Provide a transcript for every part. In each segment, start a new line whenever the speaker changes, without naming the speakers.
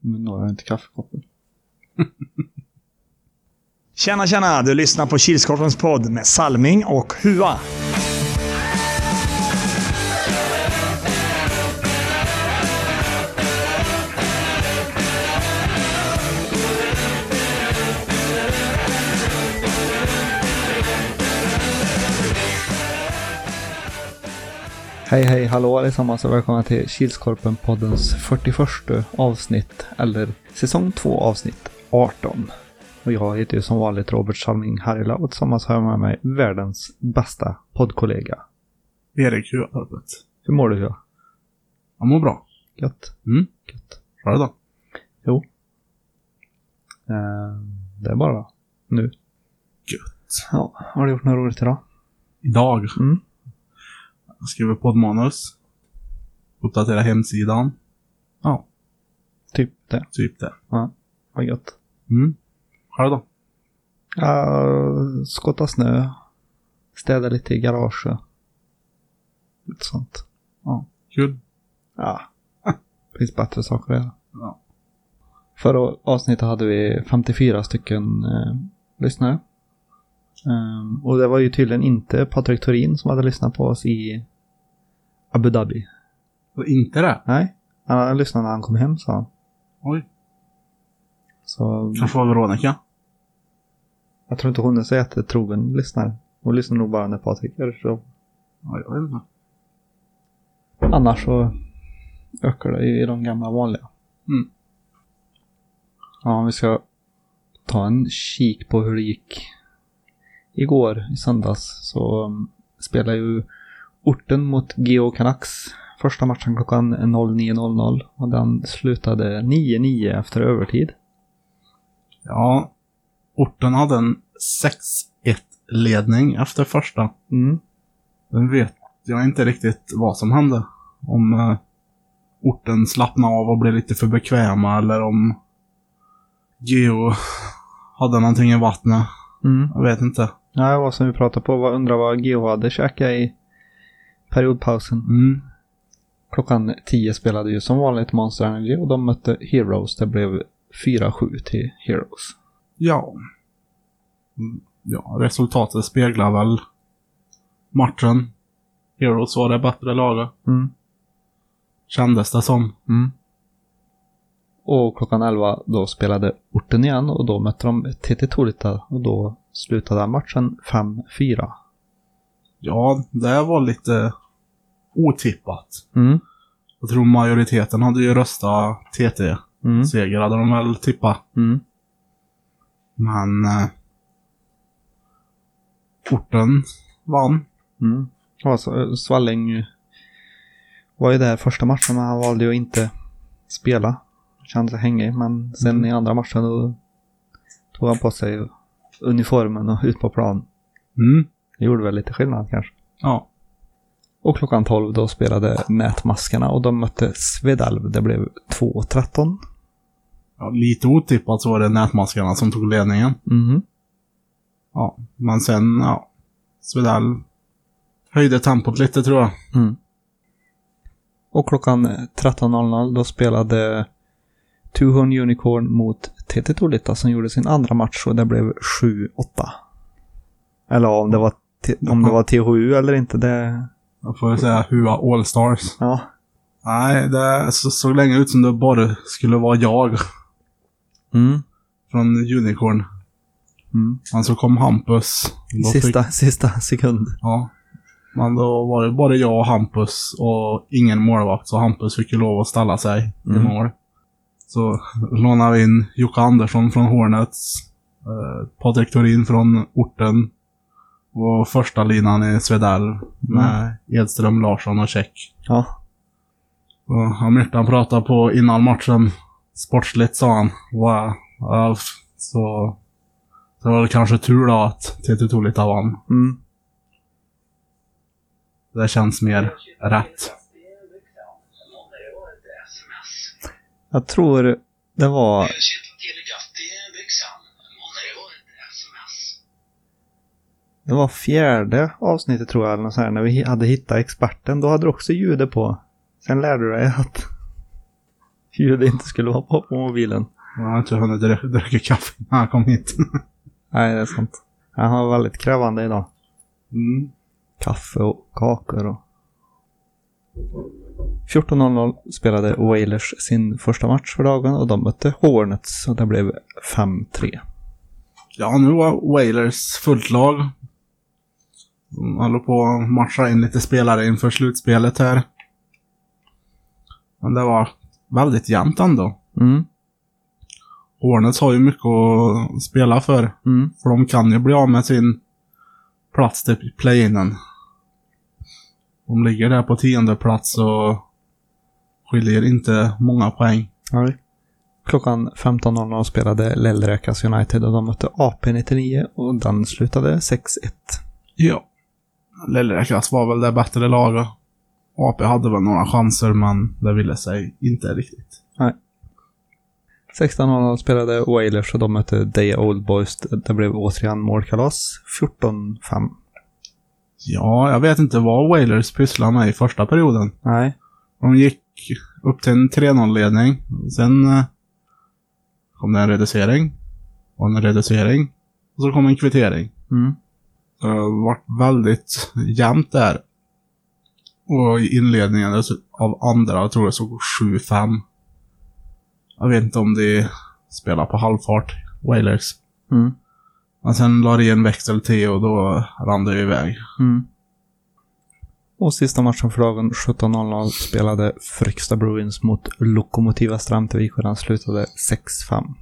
Men då har jag inte kaffekoppen.
Tjena, tjena! Du lyssnar på Kilskorpens podd med Salming och Hua.
Hej, hej, hallå allesammans och välkomna till Kilskorpen-poddens 41 avsnitt, eller säsong 2 avsnitt 18. Och jag heter ju som vanligt Robert Salming Harila och tillsammans har jag med mig världens bästa poddkollega.
Erik Huatorpet.
Hur mår du? Ja?
Han mår bra.
Gött?
Mm.
Gött.
Bra då.
Eh, det är bara nu.
Gött.
Ja, har du gjort något roligt idag?
Idag.
Mm.
Jag skriver poddmanus. Uppdaterar hemsidan. Ja,
Typ det.
typ det.
Vad gött.
Mm. Själv då?
Uh, skotta snö. Städa lite i garaget. Lite sånt.
Kul.
Ja. finns bättre saker att göra.
Ja.
Förra avsnittet hade vi 54 stycken eh, lyssnare. Ehm, och det var ju tydligen inte Patrik Torin som hade lyssnat på oss i Abu Dhabi.
Och inte det?
Nej, han hade lyssnat när han kom hem sa han.
Oj.
Så
Kanske var Veronica?
jag tror inte hon är så jättetrogen lyssnare. Hon lyssnar nog bara när Patrik gör det. så.
Ja, jag vet inte.
Annars så ökar det ju i de gamla vanliga.
Mm.
Ja, vi ska ta en kik på hur det gick igår, i söndags, så um, spelar ju orten mot Geo Canucks första matchen klockan 09.00 och den slutade 9-9 efter övertid.
Ja. Orten hade en 6-1-ledning efter första.
Mm.
Den vet jag inte riktigt vad som hände. Om eh, orten slappnade av och blev lite för bekväma eller om Geo hade någonting i vattnet.
Mm.
Jag vet inte.
Ja, det var som vi pratade på, vad- undrar vad Geo hade käkat i periodpausen.
Mm.
Klockan 10 spelade ju som vanligt Monster Energy och de mötte Heroes. Det blev 4-7 till Heroes.
Ja. Mm, Ja, resultatet speglar väl matchen. Heroes var det bättre laget,
Mm.
kändes det som.
Och klockan 11 då spelade Orten igen och då mötte de TT Torita och då slutade matchen 5-4.
Ja, det var lite otippat.
Mm.
Jag tror majoriteten hade ju röstat TT.
Mm.
Seger hade de väl tippat.
Mm.
Men... Eh, orten vann.
Mm. Alltså, Svalling var ju där första matchen men han valde ju att inte spela. Kände sig hängig men sen
Mm.
i andra matchen då tog han på sig uniformen och ut på plan.
Mm.
Det gjorde väl lite skillnad kanske.
Ja.
Och klockan 12 då spelade Nätmaskarna och de mötte Svedalv. Det blev 2-13.
ja. Lite otippat så var det nätmaskarna som tog ledningen.
Mhm.
Ja, men sen, ja. Svedal höjde tempot lite tror jag.
Mm. Och klockan 13.00 då spelade Tuhon Unicorn mot TT Tolita som gjorde sin andra match och det blev 7-8. Eller om det var, T- om det var THU eller inte, det...
Jag får väl säga Hua Allstars.
Ja.
Nej, det så, såg länge ut som det bara skulle vara jag
Mm.
från Unicorn.
Mm.
Men så kom Hampus. Då fick-
Sista, sista sekund.
ja. Men då var det bara jag och Hampus och ingen målvakt, så Hampus fick ju lov att ställa sig
Mm.
i mål. Så lånade vi in Jocke Andersson från Hornets, eh, Patrik Torin från orten och första linan i Svedalv med Edström, Larsson och Käck.
Ja.
Och han Myrtan pratade på innan matchen. Sportsligt sa han. Wow. Ja, f- Så, så var det kanske tur då att TT Tolita vann.
Mm.
Det känns mer rätt.
Jag tror det var Det var fjärde avsnittet tror jag, eller något sånt här, när vi hade hittat experten. Då hade du också ljudet på. Sen lärde du dig att ljud inte skulle vara på, på mobilen.
Jag har inte hunnit drä- dricka kaffe när han kom hit.
Nej, det är sant. Han har väldigt krävande idag.
Mm.
Kaffe och kakor och... 14.00 spelade Wailers sin första match för dagen och de mötte Hornets och det blev 5-3.
Ja, nu var Wailers fullt lag. De håller på att matcha in lite spelare inför slutspelet här. Men det var väldigt jämnt ändå.
Mm,
Hornets har ju mycket att spela för.
mm,
För de kan ju bli av med sin plats till play-inen. De ligger där på tionde plats och skiljer inte många poäng.
ja. Klockan 15.00 spelade Lellräkas United och de mötte AP-99 och den slutade 6-1.
Ja. Lillräkas var väl det bättre laget. AP hade väl några chanser, men det ville sig inte riktigt.
16.00 spelade Wailers och de mötte Day Old Boys. Det blev återigen målkalas. 14-5.
Ja, jag vet inte vad Wailers pysslade med i första perioden.
Nej.
De gick upp till en 3-0-ledning. Sen eh, kom det en reducering. Och en reducering. Och så kom en kvittering.
Mm.
Det har varit väldigt jämnt där. Och i inledningen dess- av andra, jag tror jag såg 7-5. Jag vet inte om de spelar på halvfart, Wailers.
Mm.
Men sen la de en växel till och då rann det iväg.
Mm. Och sista matchen för dagen 17.00 spelade Fryksta Bruins mot Lokomotiva Stramtvik och den slutade 6-5.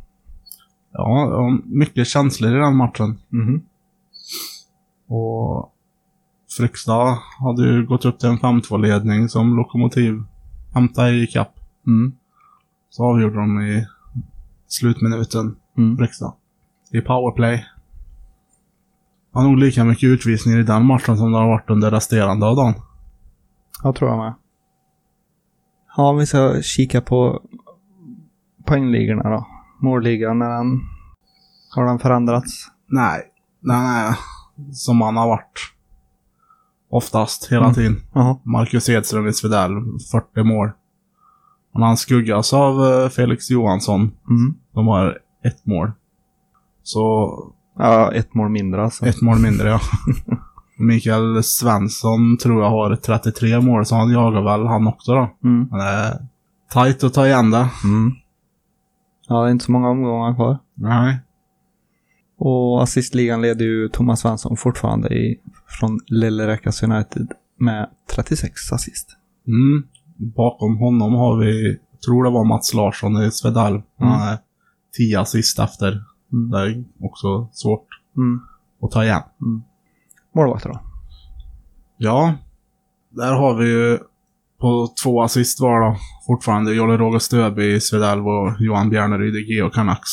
Ja, det var mycket känslor i den matchen.
Mhm.
Och Fryksta hade ju gått upp till en 5-2-ledning som Lokomotiv hämtade i kapp.
Mm.
Så avgjorde de i slutminuten.
Mm.
Brixton. I powerplay. Han har nog lika mycket utvisningar i den matchen som det har varit under resterande av dagen.
Jag tror jag med. Ja, om vi ska kika på poängligorna då. Målligan, när den, har den förändrats?
Nej. Den är som han har varit. Oftast, hela
Mm.
tiden.
Jaha.
Marcus Edström i Svedell, 40 mål. Men han skuggas av eh, Felix Johansson.
Mm.
De har ett mål. Så
Ja, ett mål mindre alltså.
Ett mål mindre, ja. Mikael Svensson tror jag har 33 mål, så han jagar väl han också då.
Mm.
Men det är tajt att ta igen det.
Mm. Ja, det är inte så många omgångar kvar.
Nej.
Och assistligan leder ju Thomas Svensson fortfarande i, från Lillerekas United med 36 assist.
Mm. Bakom honom har vi, tror det var Mats Larsson i Svedal. Han
Mm.
är 10 assist efter.
Mm.
Det är också svårt
Mm.
att ta igen.
Målvakter då?
Ja, där har vi ju på två assist var då fortfarande Jolle Roger Stöby i Svedalv och Johan Bjärneryd i GH Canucks.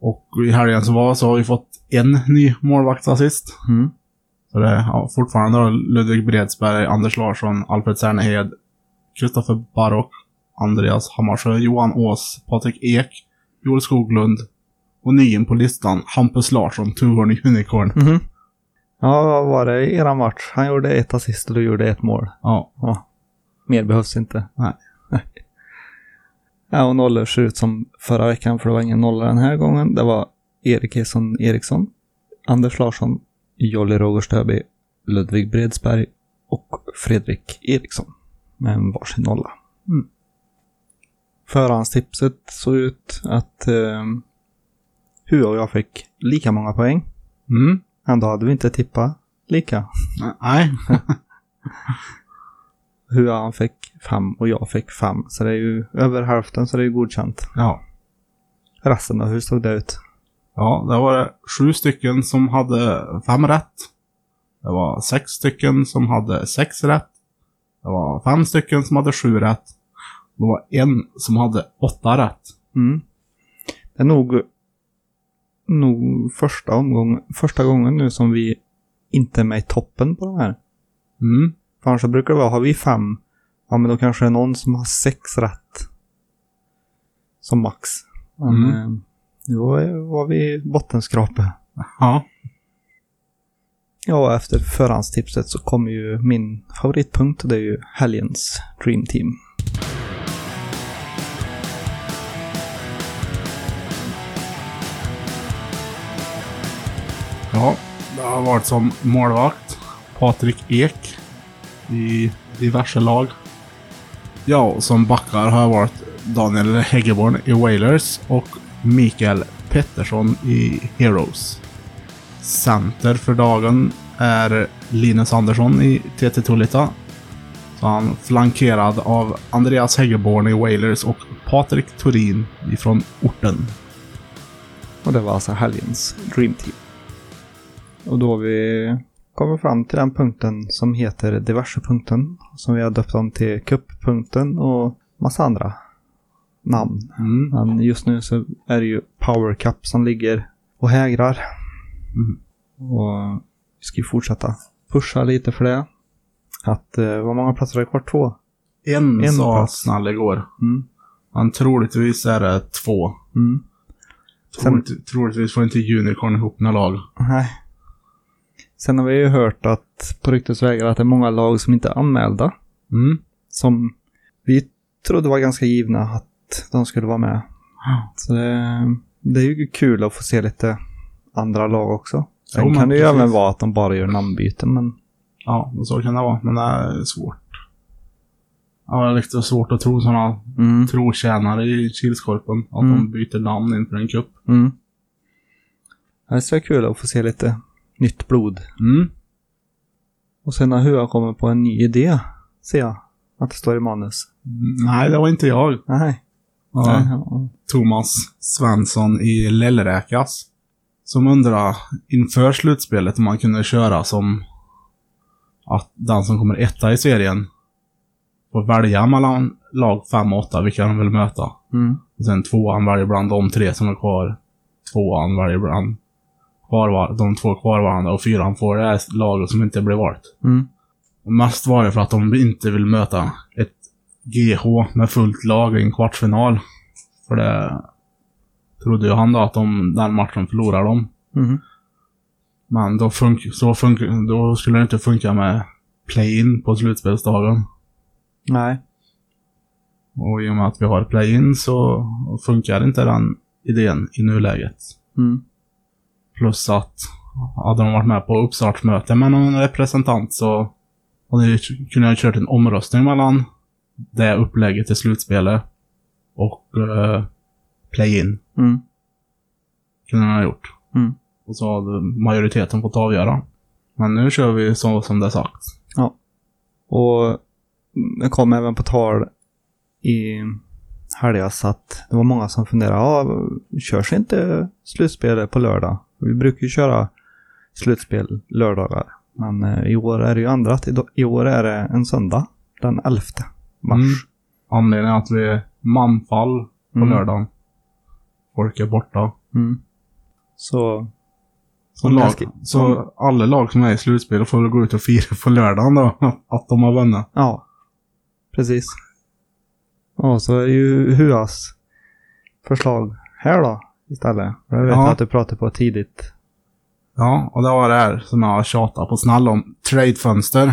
Och i helgen som var så har vi fått en ny målvaktsassist.
Mm.
Så det är ja, fortfarande då Ludvig Bredsberg, Anders Larsson, Alfred Cernehed, Kristoffer Barock, Andreas Hammarsjö, Johan Ås, Patrik Ek, Joel Skoglund och nyen på listan, Hampus Larsson, Tuhorn Unicorn.
Mhm. Ja, vad var det i eran match? Han gjorde ett assist och du gjorde ett mål.
Ja,
Mer behövs inte.
Nej.
ja, och nollor ser ut som förra veckan, för det var ingen nolla den här gången. Det var Erik Esson Eriksson, Anders Larsson, Jolly Roger Stöby, Ludvig Bredsberg och Fredrik Eriksson. Med en varsin nolla.
Mm.
Förhandstipset såg ut att eh, Hua och jag fick lika många poäng.
Mm.
Ändå hade vi inte tippat lika.
Nej.
Hua han fick fem och jag fick fem. Så det är ju över hälften så det är ju godkänt.
Ja.
Resten då, hur såg det ut?
Ja, det var det sju stycken som hade fem rätt. Det var sex stycken som hade sex rätt. Det var fem stycken som hade sju rätt. Det var en som hade åtta rätt.
Mm. Det är nog, nog första, omgång, första gången nu som vi inte är med i toppen på de här.
Mm.
För annars så brukar det vara, har vi fem, ja men då kanske det är någon som har sex rätt. Som max. Men
Mm.
eh, nu var, var vi bottenskrapet.
Ja.
Ja, och efter förhandstipset så kommer ju min favoritpunkt och det är ju helgens Dream Team.
Ja, jag har varit som målvakt. Patrik Ek. I diverse lag. Ja, och som backar har jag varit Daniel Häggeborn i Wailers och Mikael Pettersson i Heroes. Center för dagen är Linus Andersson i TT Tolita. Så han flankerad av Andreas Häggeborn i Wailers och Patrik Torin ifrån orten.
Och det var alltså helgens Dream Team. Och då har vi kommit fram till den punkten som heter diverse-punkten. Som vi har döpt om till kupp-punkten och massa andra namn.
Mm.
Men just nu så är det ju Power Cup som ligger och hägrar.
Mm.
Och vi ska ju fortsätta pusha lite för det. Att, eh, vad många platser är det kvar? Två?
En,
En
sa
plats.
Snall igår.
Mm.
Men troligtvis är det två.
Mm. Sen-
Troligt, troligtvis får inte Unicorn ihop några lag.
Nej. Sen har vi ju hört att på ryktesvägar att det är många lag som inte är anmälda.
Mm.
Som vi trodde var ganska givna att de skulle vara med.
Ah.
Så det, det är ju kul att få se lite andra lag också. Sen
Jo, men
kan det ju
precis.
även vara att de bara gör namnbyten, men
Ja, och så kan det vara. Men det är svårt. Ja, det är lite svårt att tro sådana
mm.
trotjänare i Kilskorpen. Att
Mm.
de byter namn inför en cup.
Mm. Det ska vara kul att få se lite nytt blod.
Mm.
Och sen har Hua kommit på en ny idé, ser jag. Att det står i manus.
Nej, det var inte jag.
Nej.
Ja.
Nej.
Thomas Svensson i Lellräkas. Som undrar inför slutspelet om man kunde köra som att den som kommer etta i serien får välja mellan lag 5 och 8 vilka de vill möta.
Mm.
Och sen tvåan väljer bland de tre som är kvar. Tvåan väljer bland kvarvar- de två kvarvarande och fyran får det här laget som inte blir valt.
Mm.
Och mest var det för att de inte vill möta ett GH med fullt lag i en kvartsfinal. För det trodde ju han då att de, den matchen förlorar de.
Mm.
Men då, funk, så funk, då skulle det inte funka med play-in på slutspelsdagen.
Nej.
Och i och med att vi har play-in så funkar inte den idén i nuläget.
Mm.
Plus att hade de varit med på uppstartsmöte med någon representant så hade vi kunnat kört en omröstning mellan det upplägget i slutspelet och eh, play-in.
Mm.
Kunde man ha gjort.
Mm.
Och så hade majoriteten fått avgöra. Men nu kör vi så som det är sagt.
Och det kom även på tal i helgas att det var många som funderade, ja, körs inte slutspel på lördag? Vi brukar ju köra slutspel lördagar. Men eh, i år är det ju ändrat. I, I år är det en söndag, den 11
Mm.
mars.
Anledningen är att vi är manfall på
Mm.
lördagen. Folk är borta.
Mm. Så,
Så,
Om jag
lag,
ska-
så alla lag som är i slutspelet får väl gå ut och fira på lördagen då. Att de har vunnit.
ja. Precis. Och så är ju Huas förslag här då istället. Jag vet
Ja.
att du pratade på tidigt
Ja, och det var det här som jag har tjatat på snäll om. Tradefönster.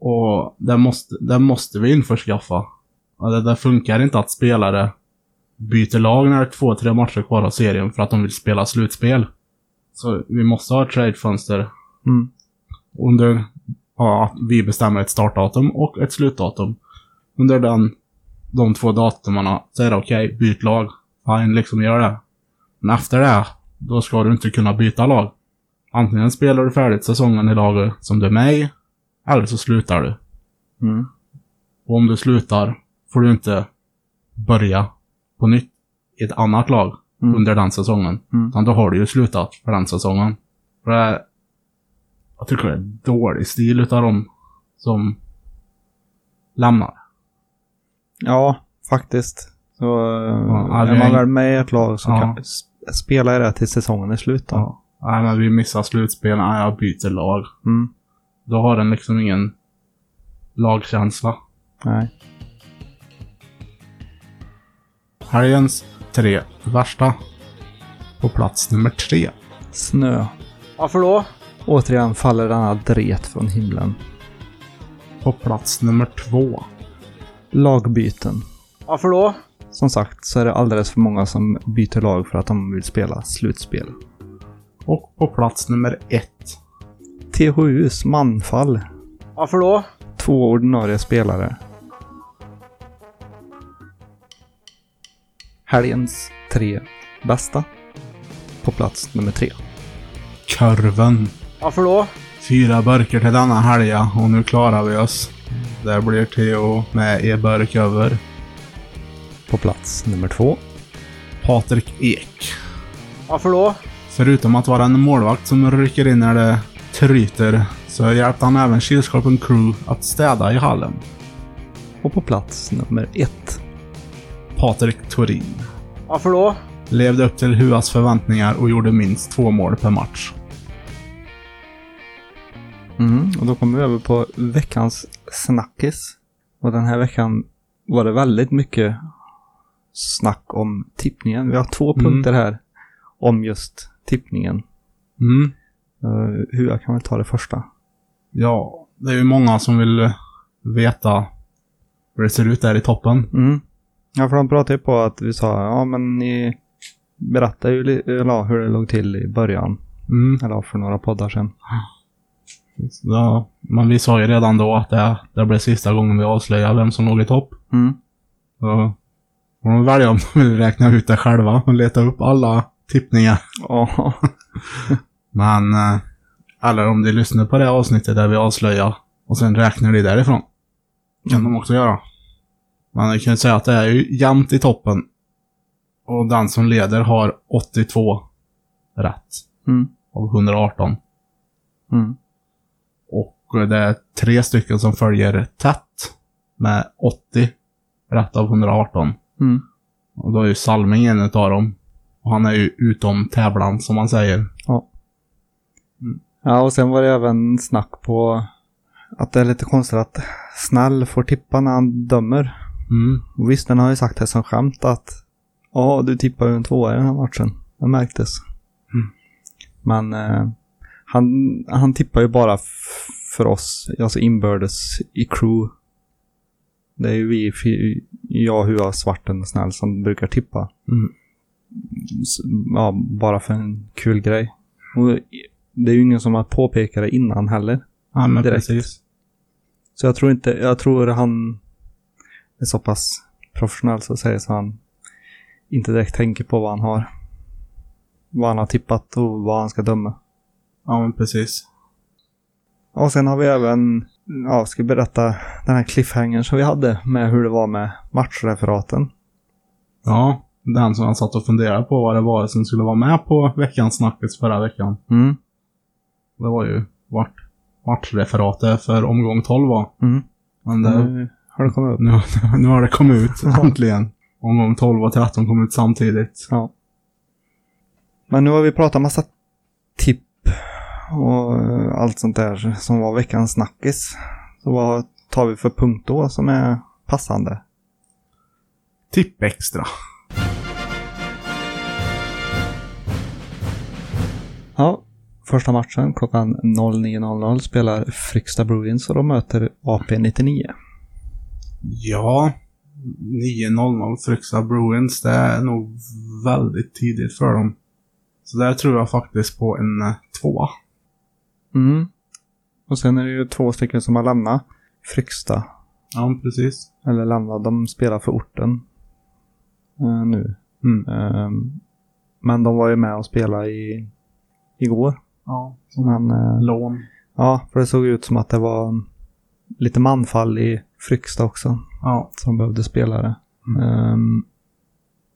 Och det måste, det måste vi införskaffa. Ja, Det, det funkar inte att spelare byter lag när det är två, tre matcher kvar av serien för att de vill spela slutspel. Så vi måste ha ett tradefönster
Mm.
under, ja, att vi bestämmer ett startdatum och ett slutdatum. Under den, de två datumarna så är det okej, byt lag. Fine, liksom gör det. Men efter det, då ska du inte kunna byta lag. Antingen spelar du färdigt säsongen i laget som du är med i, eller så slutar du.
Mm.
Och om du slutar får du inte börja på nytt i ett annat lag
Mm.
under den säsongen.
Mm.
Utan då har du ju slutat för den säsongen. För det är, jag tycker det är dålig stil utav dem som lämnar.
Ja, faktiskt. Så
Ja,
eh,
vi
är man
har-
väl med i ett lag så
Ja.
kan s- spela i det till säsongen är slut. Då.
Ja. Nej, men vi missar slutspel. Nej, jag byter lag.
Mm.
Då har den liksom ingen lagkänsla.
Nej.
Helgens tre värsta. På plats nummer tre.
Snö.
Varför då?
Återigen faller denna dret från himlen.
På plats nummer två.
Lagbyten.
Varför då?
Som sagt så är det alldeles för många som byter lag för att de vill spela slutspel.
Och på plats nummer ett.
THUs manfall.
Varför då?
Två ordinarie spelare. Helgens tre bästa. På plats nummer tre.
Körven.
Varför då?
Fyra burkar till denna helga och nu klarar vi oss. Det blir Theo med en burk över.
På plats nummer två.
Patrik Ek.
Varför då?
Förutom att vara en målvakt som rycker in när det tryter så hjälpte han även Kilskorpen Crew att städa i hallen.
Och på plats nummer ett.
Patrik Torin.
Varför då?
Levde upp till Huas förväntningar och gjorde minst två mål per match.
Mm, och då kommer vi över på veckans snackis. Och den här veckan var det väldigt mycket snack om tippningen. Vi har två
Mm.
punkter här om just tippningen.
Mm.
Uh, hur jag kan väl ta det första.
Ja, det är ju många som vill eh, veta hur det ser ut där i toppen.
Mm. Ja, för de pratade ju på att vi sa, ja men ni berättade ju li- eller, ja, hur det låg till i början.
Mm.
Eller ja, för några poddar sedan.
Ja, men vi sa ju redan då att det, det blev sista gången vi avslöjade vem som låg i topp.
Mm.
Så får de välja om de vill räkna ut det själva och leta upp alla tippningar.
Ja.
Men, eh, eller om de lyssnar på det avsnittet där vi avslöjar och sen räknar de därifrån. Kan de också göra. Men jag kan ju säga att det är ju jämnt i toppen. Och den som leder har 82 rätt
Mm.
av 118.
Mm.
Och eh, det är tre stycken som följer tätt med 80 rätt av 118.
Mm.
Och då är ju Salming en utav dem. Och han är ju utom tävlan som man säger.
Ja, och sen var det även snack på att det är lite konstigt att Snäll får tippa när han dömer.
Mm.
Och visst, den har ju sagt det som skämt att ja, du tippar ju en tvåa i den här matchen. Det märktes. Men eh, han, han tippar ju bara f- för oss, alltså inbördes i crew. Det är ju vi, fy- jag, Hua, Svarten och Snäll som brukar tippa.
Mm.
S- Ja, bara för en kul grej. Och det är ju ingen som har påpekat det innan heller.
Ja, men
Direkt.
precis.
Så jag tror inte, jag tror han är så pass professionell så att säga så han inte direkt tänker på vad han har. Vad han har tippat och vad han ska döma.
Ja, men precis.
Och sen har vi även, ja, ska berätta den här cliffhangern som vi hade med hur det var med matchreferaten.
Ja, den som jag satt och funderade på vad det var som skulle vara med på veckans snackis förra veckan.
Mm.
Det var ju vart matchreferatet för omgång 12 var.
Mm.
Men det,
Nu har det kommit upp.
nu, nu har det kommit ut äntligen. Omgång 12 och 13 kom ut samtidigt.
Ja. Men nu har vi pratat massa tipp och eh, allt sånt där som var veckans snackis. Så vad tar vi för punkt då som är passande?
Tipp extra.
Ja, första matchen klockan 09.00 spelar Fryksta Bruins och de möter AP-99.
Ja, 9-0-0 Fryksta Bruins. Det är nog väldigt tidigt för dem. Så där tror jag faktiskt på en eh, tvåa.
Mm. Och sen är det ju två stycken som har lämnat Fryksta.
Ja, precis.
Eller lämnat, de spelar för orten. eh, nu.
Mm.
Ehm, men de var ju med och spelade i, igår.
Ja,
Men, eh,
lån.
ja, för det såg ut som att det var lite manfall i Fryksta också.
Ja,
som behövde spelare. Ehm,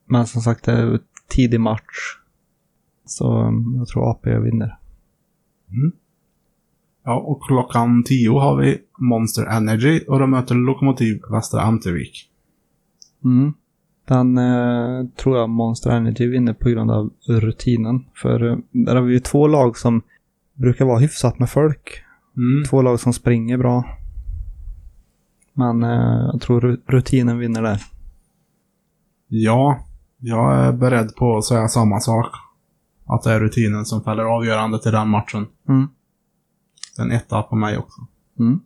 men som sagt, det är ju ett tidig match. Så um, jag tror AP vinner.
Ja, och klockan 10 har vi Monster Energy och de möter Lokomotiv Västra Amtervik.
Mm. Den eh, tror jag Monster Energy vinner på grund av rutinen. För eh, där har vi ju två lag som brukar vara hyfsat med folk.
Mm.
Två lag som springer bra. Men eh, jag tror ru- rutinen vinner där.
Ja, jag är beredd på att säga samma sak. Att det är rutinen som fäller avgörande till den matchen.
Mm.
Den etta på mig också.
Mm.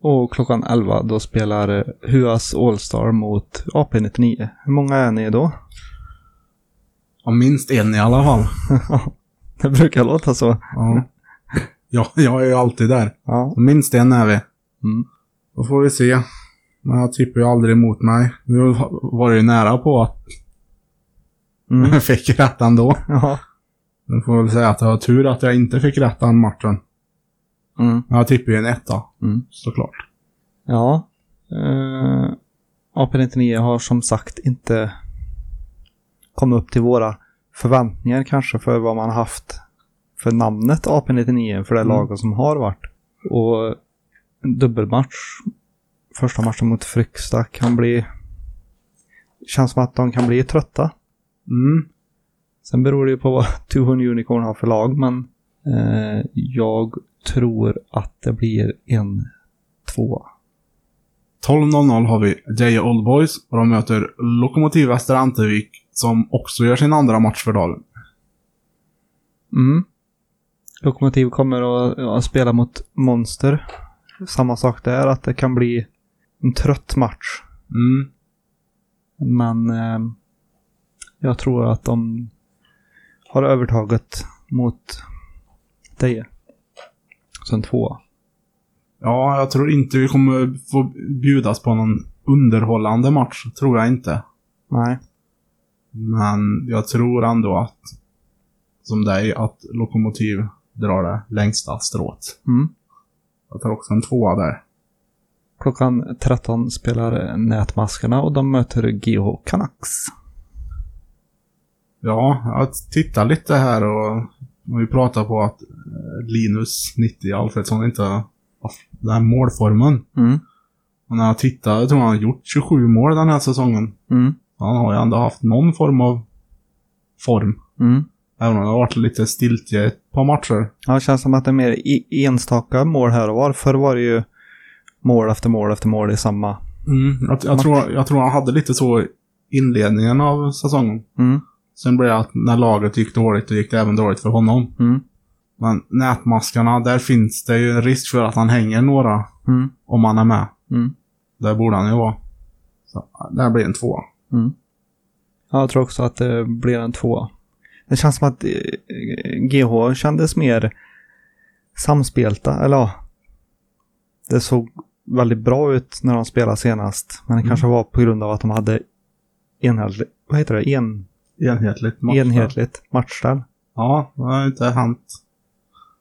Och klockan 11 då spelar eh, Huas Allstar mot AP99. Hur många är ni då?
Ja, minst en i alla fall.
Det brukar låta så.
Ja. ja, jag är ju alltid där.
Ja.
Minst en är vi.
Mm.
Då får vi se. Men han tippar ju aldrig emot mig. Nu var det ju nära på att
Mm.
jag fick rätt ändå.
Ja.
Nu får jag väl säga att jag har tur att jag inte fick rätt den matchen.
Mm.
Men jag tippar ju en etta.
Mm.
Såklart.
Ja. Uh, AP99 har som sagt inte kommit upp till våra förväntningar kanske för vad man haft för namnet AP99 för det laget som har varit. Och en dubbelmatch. Första matchen mot Fryksta kan bli... Känns som att de kan bli trötta.
Mm.
Sen beror det ju på vad Tuhon Unicorn har för lag, men eh, jag tror att det blir en tvåa.
12.00 har vi Deje Old Boys och de möter Lokomotiv Väster Antevik som också gör sin andra match för dagen.
Mm. Lokomotiv kommer att ja, spela mot Monster. Samma sak där, att det kan bli en trött match.
Mm.
Men eh, jag tror att de har övertaget mot Deje. Så en tvåa.
Ja, jag tror inte vi kommer få bjudas på någon underhållande match. Tror jag inte.
Nej.
Men jag tror ändå att, som dig, att Lokomotiv drar det längsta strået.
Mm.
Jag tar också en tvåa där.
Klockan 13 spelar Nätmaskarna och de möter GH Canucks.
Ja, jag tittar lite här och och vi pratar på att eh, Linus 90 Alfredsson inte har haft den här målformen.
Mm.
Och när jag tittar, jag tror han har gjort 27 mål den här säsongen.
Mm.
Han har ju ändå haft någon form av form.
Mm.
Även om det har varit lite stiltje ett par matcher.
Ja, det känns som att det är mer i- enstaka mål här och var. Förr var det ju mål efter mål efter mål i samma.
Mm, jag, jag,
Match.
tror, jag tror han hade lite så i inledningen av säsongen.
Mm.
Sen blev det att när laget gick dåligt, då gick det även dåligt för honom.
Mm.
Men nätmaskarna, där finns det ju en risk för att han hänger några
Mm.
om han är med.
Mm.
Där borde han ju vara. Så, där blir en tvåa.
Ja, jag tror också att det blir en tvåa. Det känns som att eh, GH kändes mer samspelta, eller ja. Det såg väldigt bra ut när de spelade senast. Men det kanske var på grund av att de hade enhetligt, vad heter det, en,
Enhetligt match.
enhetligt matchställ.
Ja, det har inte hänt,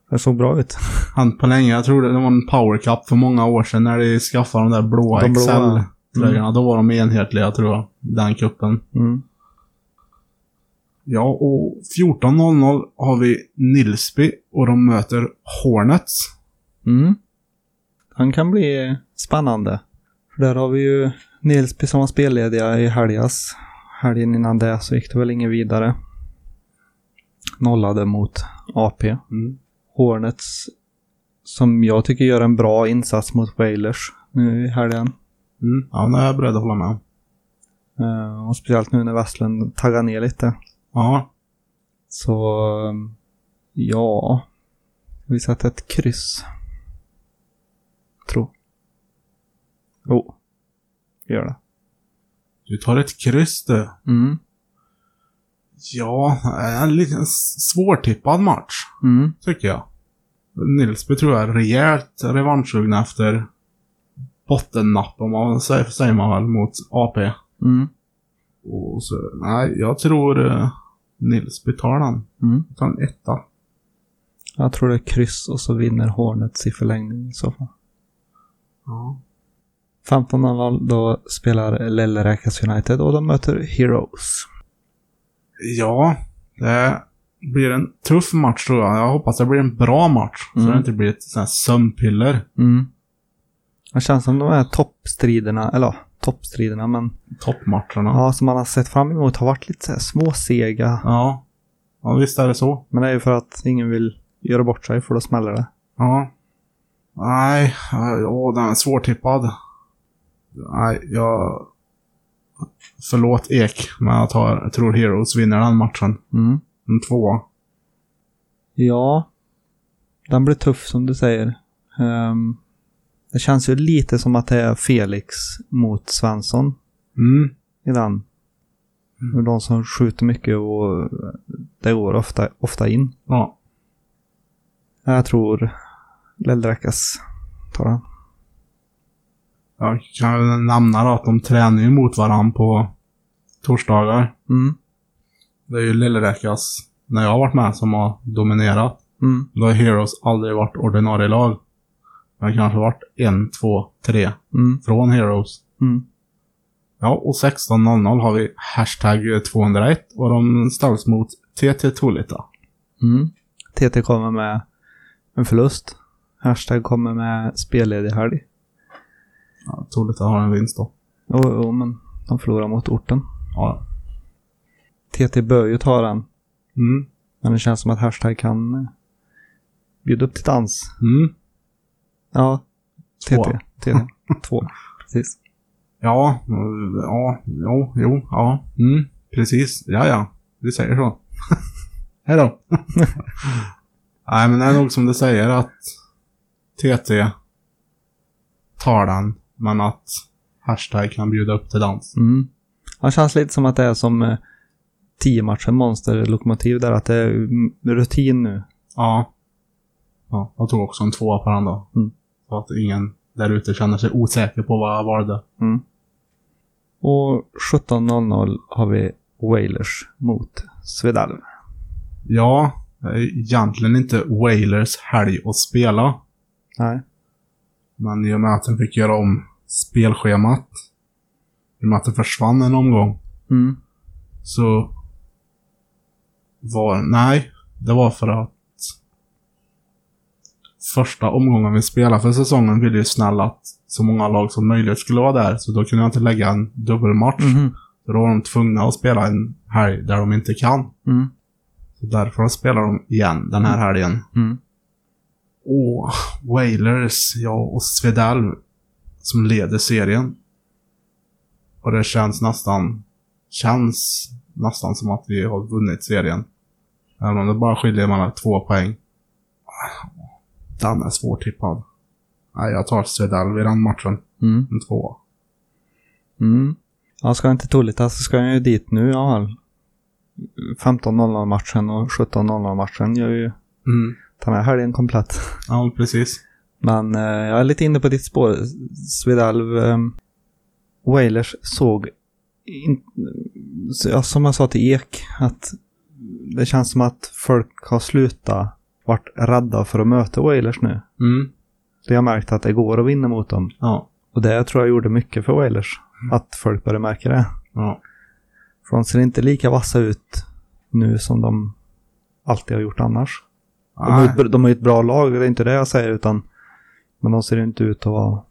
Det såg bra ut.
hänt på länge. Jag tror det var en power cup för många år sedan när de skaffade de där blåa
De Mm. blåa.
Excel-tröjorna. Då var de enhetliga tror jag, den kuppen.
Mm.
Ja, och 14.00 har vi Nilsby och de möter Hornets.
Mm. Han kan bli spännande. För där har vi ju Nilsby som var spellediga i helgas. Helgen innan det så gick det väl ingen vidare. Nollade mot AP.
Mm.
Hornets som jag tycker gör en bra insats mot Wailers nu i helgen.
Mm. Ja, det är jag beredd att hålla med om.
Eh, Och speciellt nu när Westlund taggar ner lite.
Ja,
Så ehm, ja, vi sätter ett kryss. Tro. Jo, vi gör det.
du tar ett kryss du.
Mm,
Ja, en liten s- svårtippad match,
mm,
tycker jag. Nilsby tror jag är rejält revanschsugna efter bottennapp, om man säger, säger man väl, mot AP.
mm,
Och så, nej, jag tror eh, Nilsby tar den.
mm.
Jag tar en etta.
Jag tror det är kryss och så vinner Hornets i förlängning i så fall.
Ja.
15.00 då spelar Lelleräkas United och de möter Heroes.
Ja, det blir en tuff match tror jag. Jag hoppas det blir en bra match. Så
Mm.
det inte blir ett sånt här sömnpiller.
Mm. Det känns som de här toppstriderna, eller ja, toppstriderna, men
Toppmatcherna. Ja.
ja, som man har sett fram emot har varit lite så här småsega.
ja. visst är det så.
Men det är ju för att ingen vill göra bort sig för då smäller det.
Ja. Nej, eh, åh, den är svårtippad. Nej, jag... Förlåt Ek, men jag, tar, jag tror Heroes vinner den matchen.
Mm.
En tvåa.
Ja, den blir tuff som du säger. Ehm, det känns ju lite som att det är Felix mot Svensson
Mm.
Mm. i den. De som skjuter mycket och Det går ofta, ofta in.
Ja.
Jag tror Leldrakas tar den.
Jag kan väl nämna då att de tränar ju mot varandra på torsdagar.
Mm.
Det är ju Lillräkas, när jag har varit med, som har dominerat.
Mm.
Då har Heroes aldrig varit ordinarie lag. Men kanske varit en, två, tre
Mm.
från Heroes.
Mm.
Ja, och 16.00 har vi hashtag 201 och de ställs mot TT Tolita.
Mm. TT kommer med en förlust. Hashtag kommer med spelledig helg.
Ja, Tolita har en vinst då.
Jo, jo, men de förlorar mot orten.
Ja.
TT bör ju ta den,
Mm.
men det känns som att Hashtag kan eh, bjuda upp till dans.
Mm.
Ja,
Två.
TT. TT. Två. Precis.
Ja, eh, ja, jo, jo, ja, mm, precis. Ja, ja, vi säger så. Hej då. Nej, men det är nog som du säger att TT tar den, men att hashtag kan bjuda upp till dans.
Mm. Han känns lite som att det är som eh, tio matcher monsterlokomotiv där, att det är mm, rutin nu.
Ja. ja. Jag tog också en tvåa på den då.
Mm.
Så att ingen där ute känner sig osäker på vad jag valde.
Och 17.00 har vi Wailers mot Svedalv.
Ja, det är egentligen inte Wailers helg att spela.
Nej.
Men i och med att jag fick göra om spelschemat, i och med att det försvann en omgång,
Mm.
så var... Nej, det var för att första omgången vi spelade för säsongen ville ju snälla att så många lag som möjligt skulle vara där, så då kunde jag inte lägga en dubbelmatch.
Mhm.
Så då var de tvungna att spela en helg där de inte kan.
Mm.
Så därför spelar de igen den här helgen.
Mm.
Åh, Wailers, ja, och Svedalv som leder serien. Och det känns nästan, känns nästan som att vi har vunnit serien. Även om det bara skiljer mellan två poäng. Den är svårtippad. Nej, jag tar Svedalv i den matchen.
Mm.
En tvåa.
Mm. Ja, ska inte Tolita så ska jag ju dit nu i alla fall. 15.00 matchen och 17.00 matchen gör ju
Mm.
den här helgen komplett.
Ja, precis.
Men eh, jag är lite inne på ditt spår, Svedalv. Eh, Wailers såg, in, så- ja, som jag sa till Ek, att det känns som att folk har slutat varit rädda för att möta Wailers nu.
Mm.
Det har märkt att det går att vinna mot dem.
Ja.
Och det tror jag gjorde mycket för Wailers. Att folk började märka det.
Ja.
För de ser inte lika vassa ut nu som de alltid har gjort annars. De har, ju ett, br- de har ju ett bra lag, det är inte det jag säger, utan men de ser inte ut att vara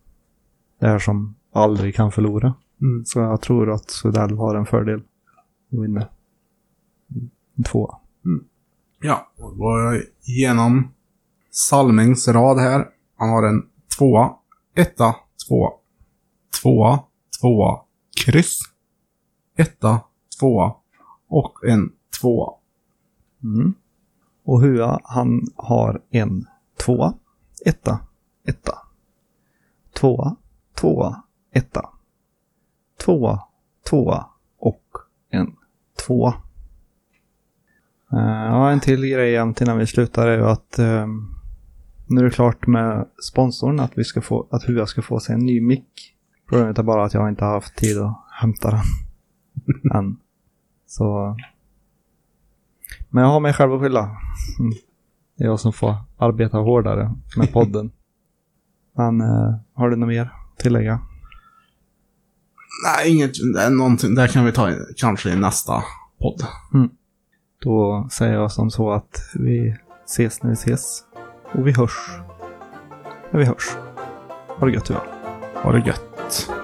det här som aldrig kan förlora.
Mm.
Så jag tror att Svedell har en fördel att vinna. En tvåa.
Ja, då går jag igenom Salmings rad här. Han har en tvåa, etta, tvåa, tvåa, tvåa, kryss, etta, tvåa och en tvåa.
Mm. Och Hua, han har en tvåa, etta, etta. Tvåa, tvåa, etta. Tvåa, tvåa och en tvåa. Eh, Ja, en till grej jämt innan vi slutar är ju att eh, nu är det klart med sponsorn att, vi ska få, att Hua ska få sig en ny mick. Problemet är bara att jag inte har haft tid att hämta den än. Så men jag har mig själv att skylla. Mm. Det är jag som får arbeta hårdare med podden. Men eh, har du något mer att tillägga?
Nej, inget, det är någonting, där kan vi ta i- kanske i nästa podd.
Då säger jag som så att vi ses när vi ses. Och vi hörs. När vi hörs. Ha det gött du
Ha det gött.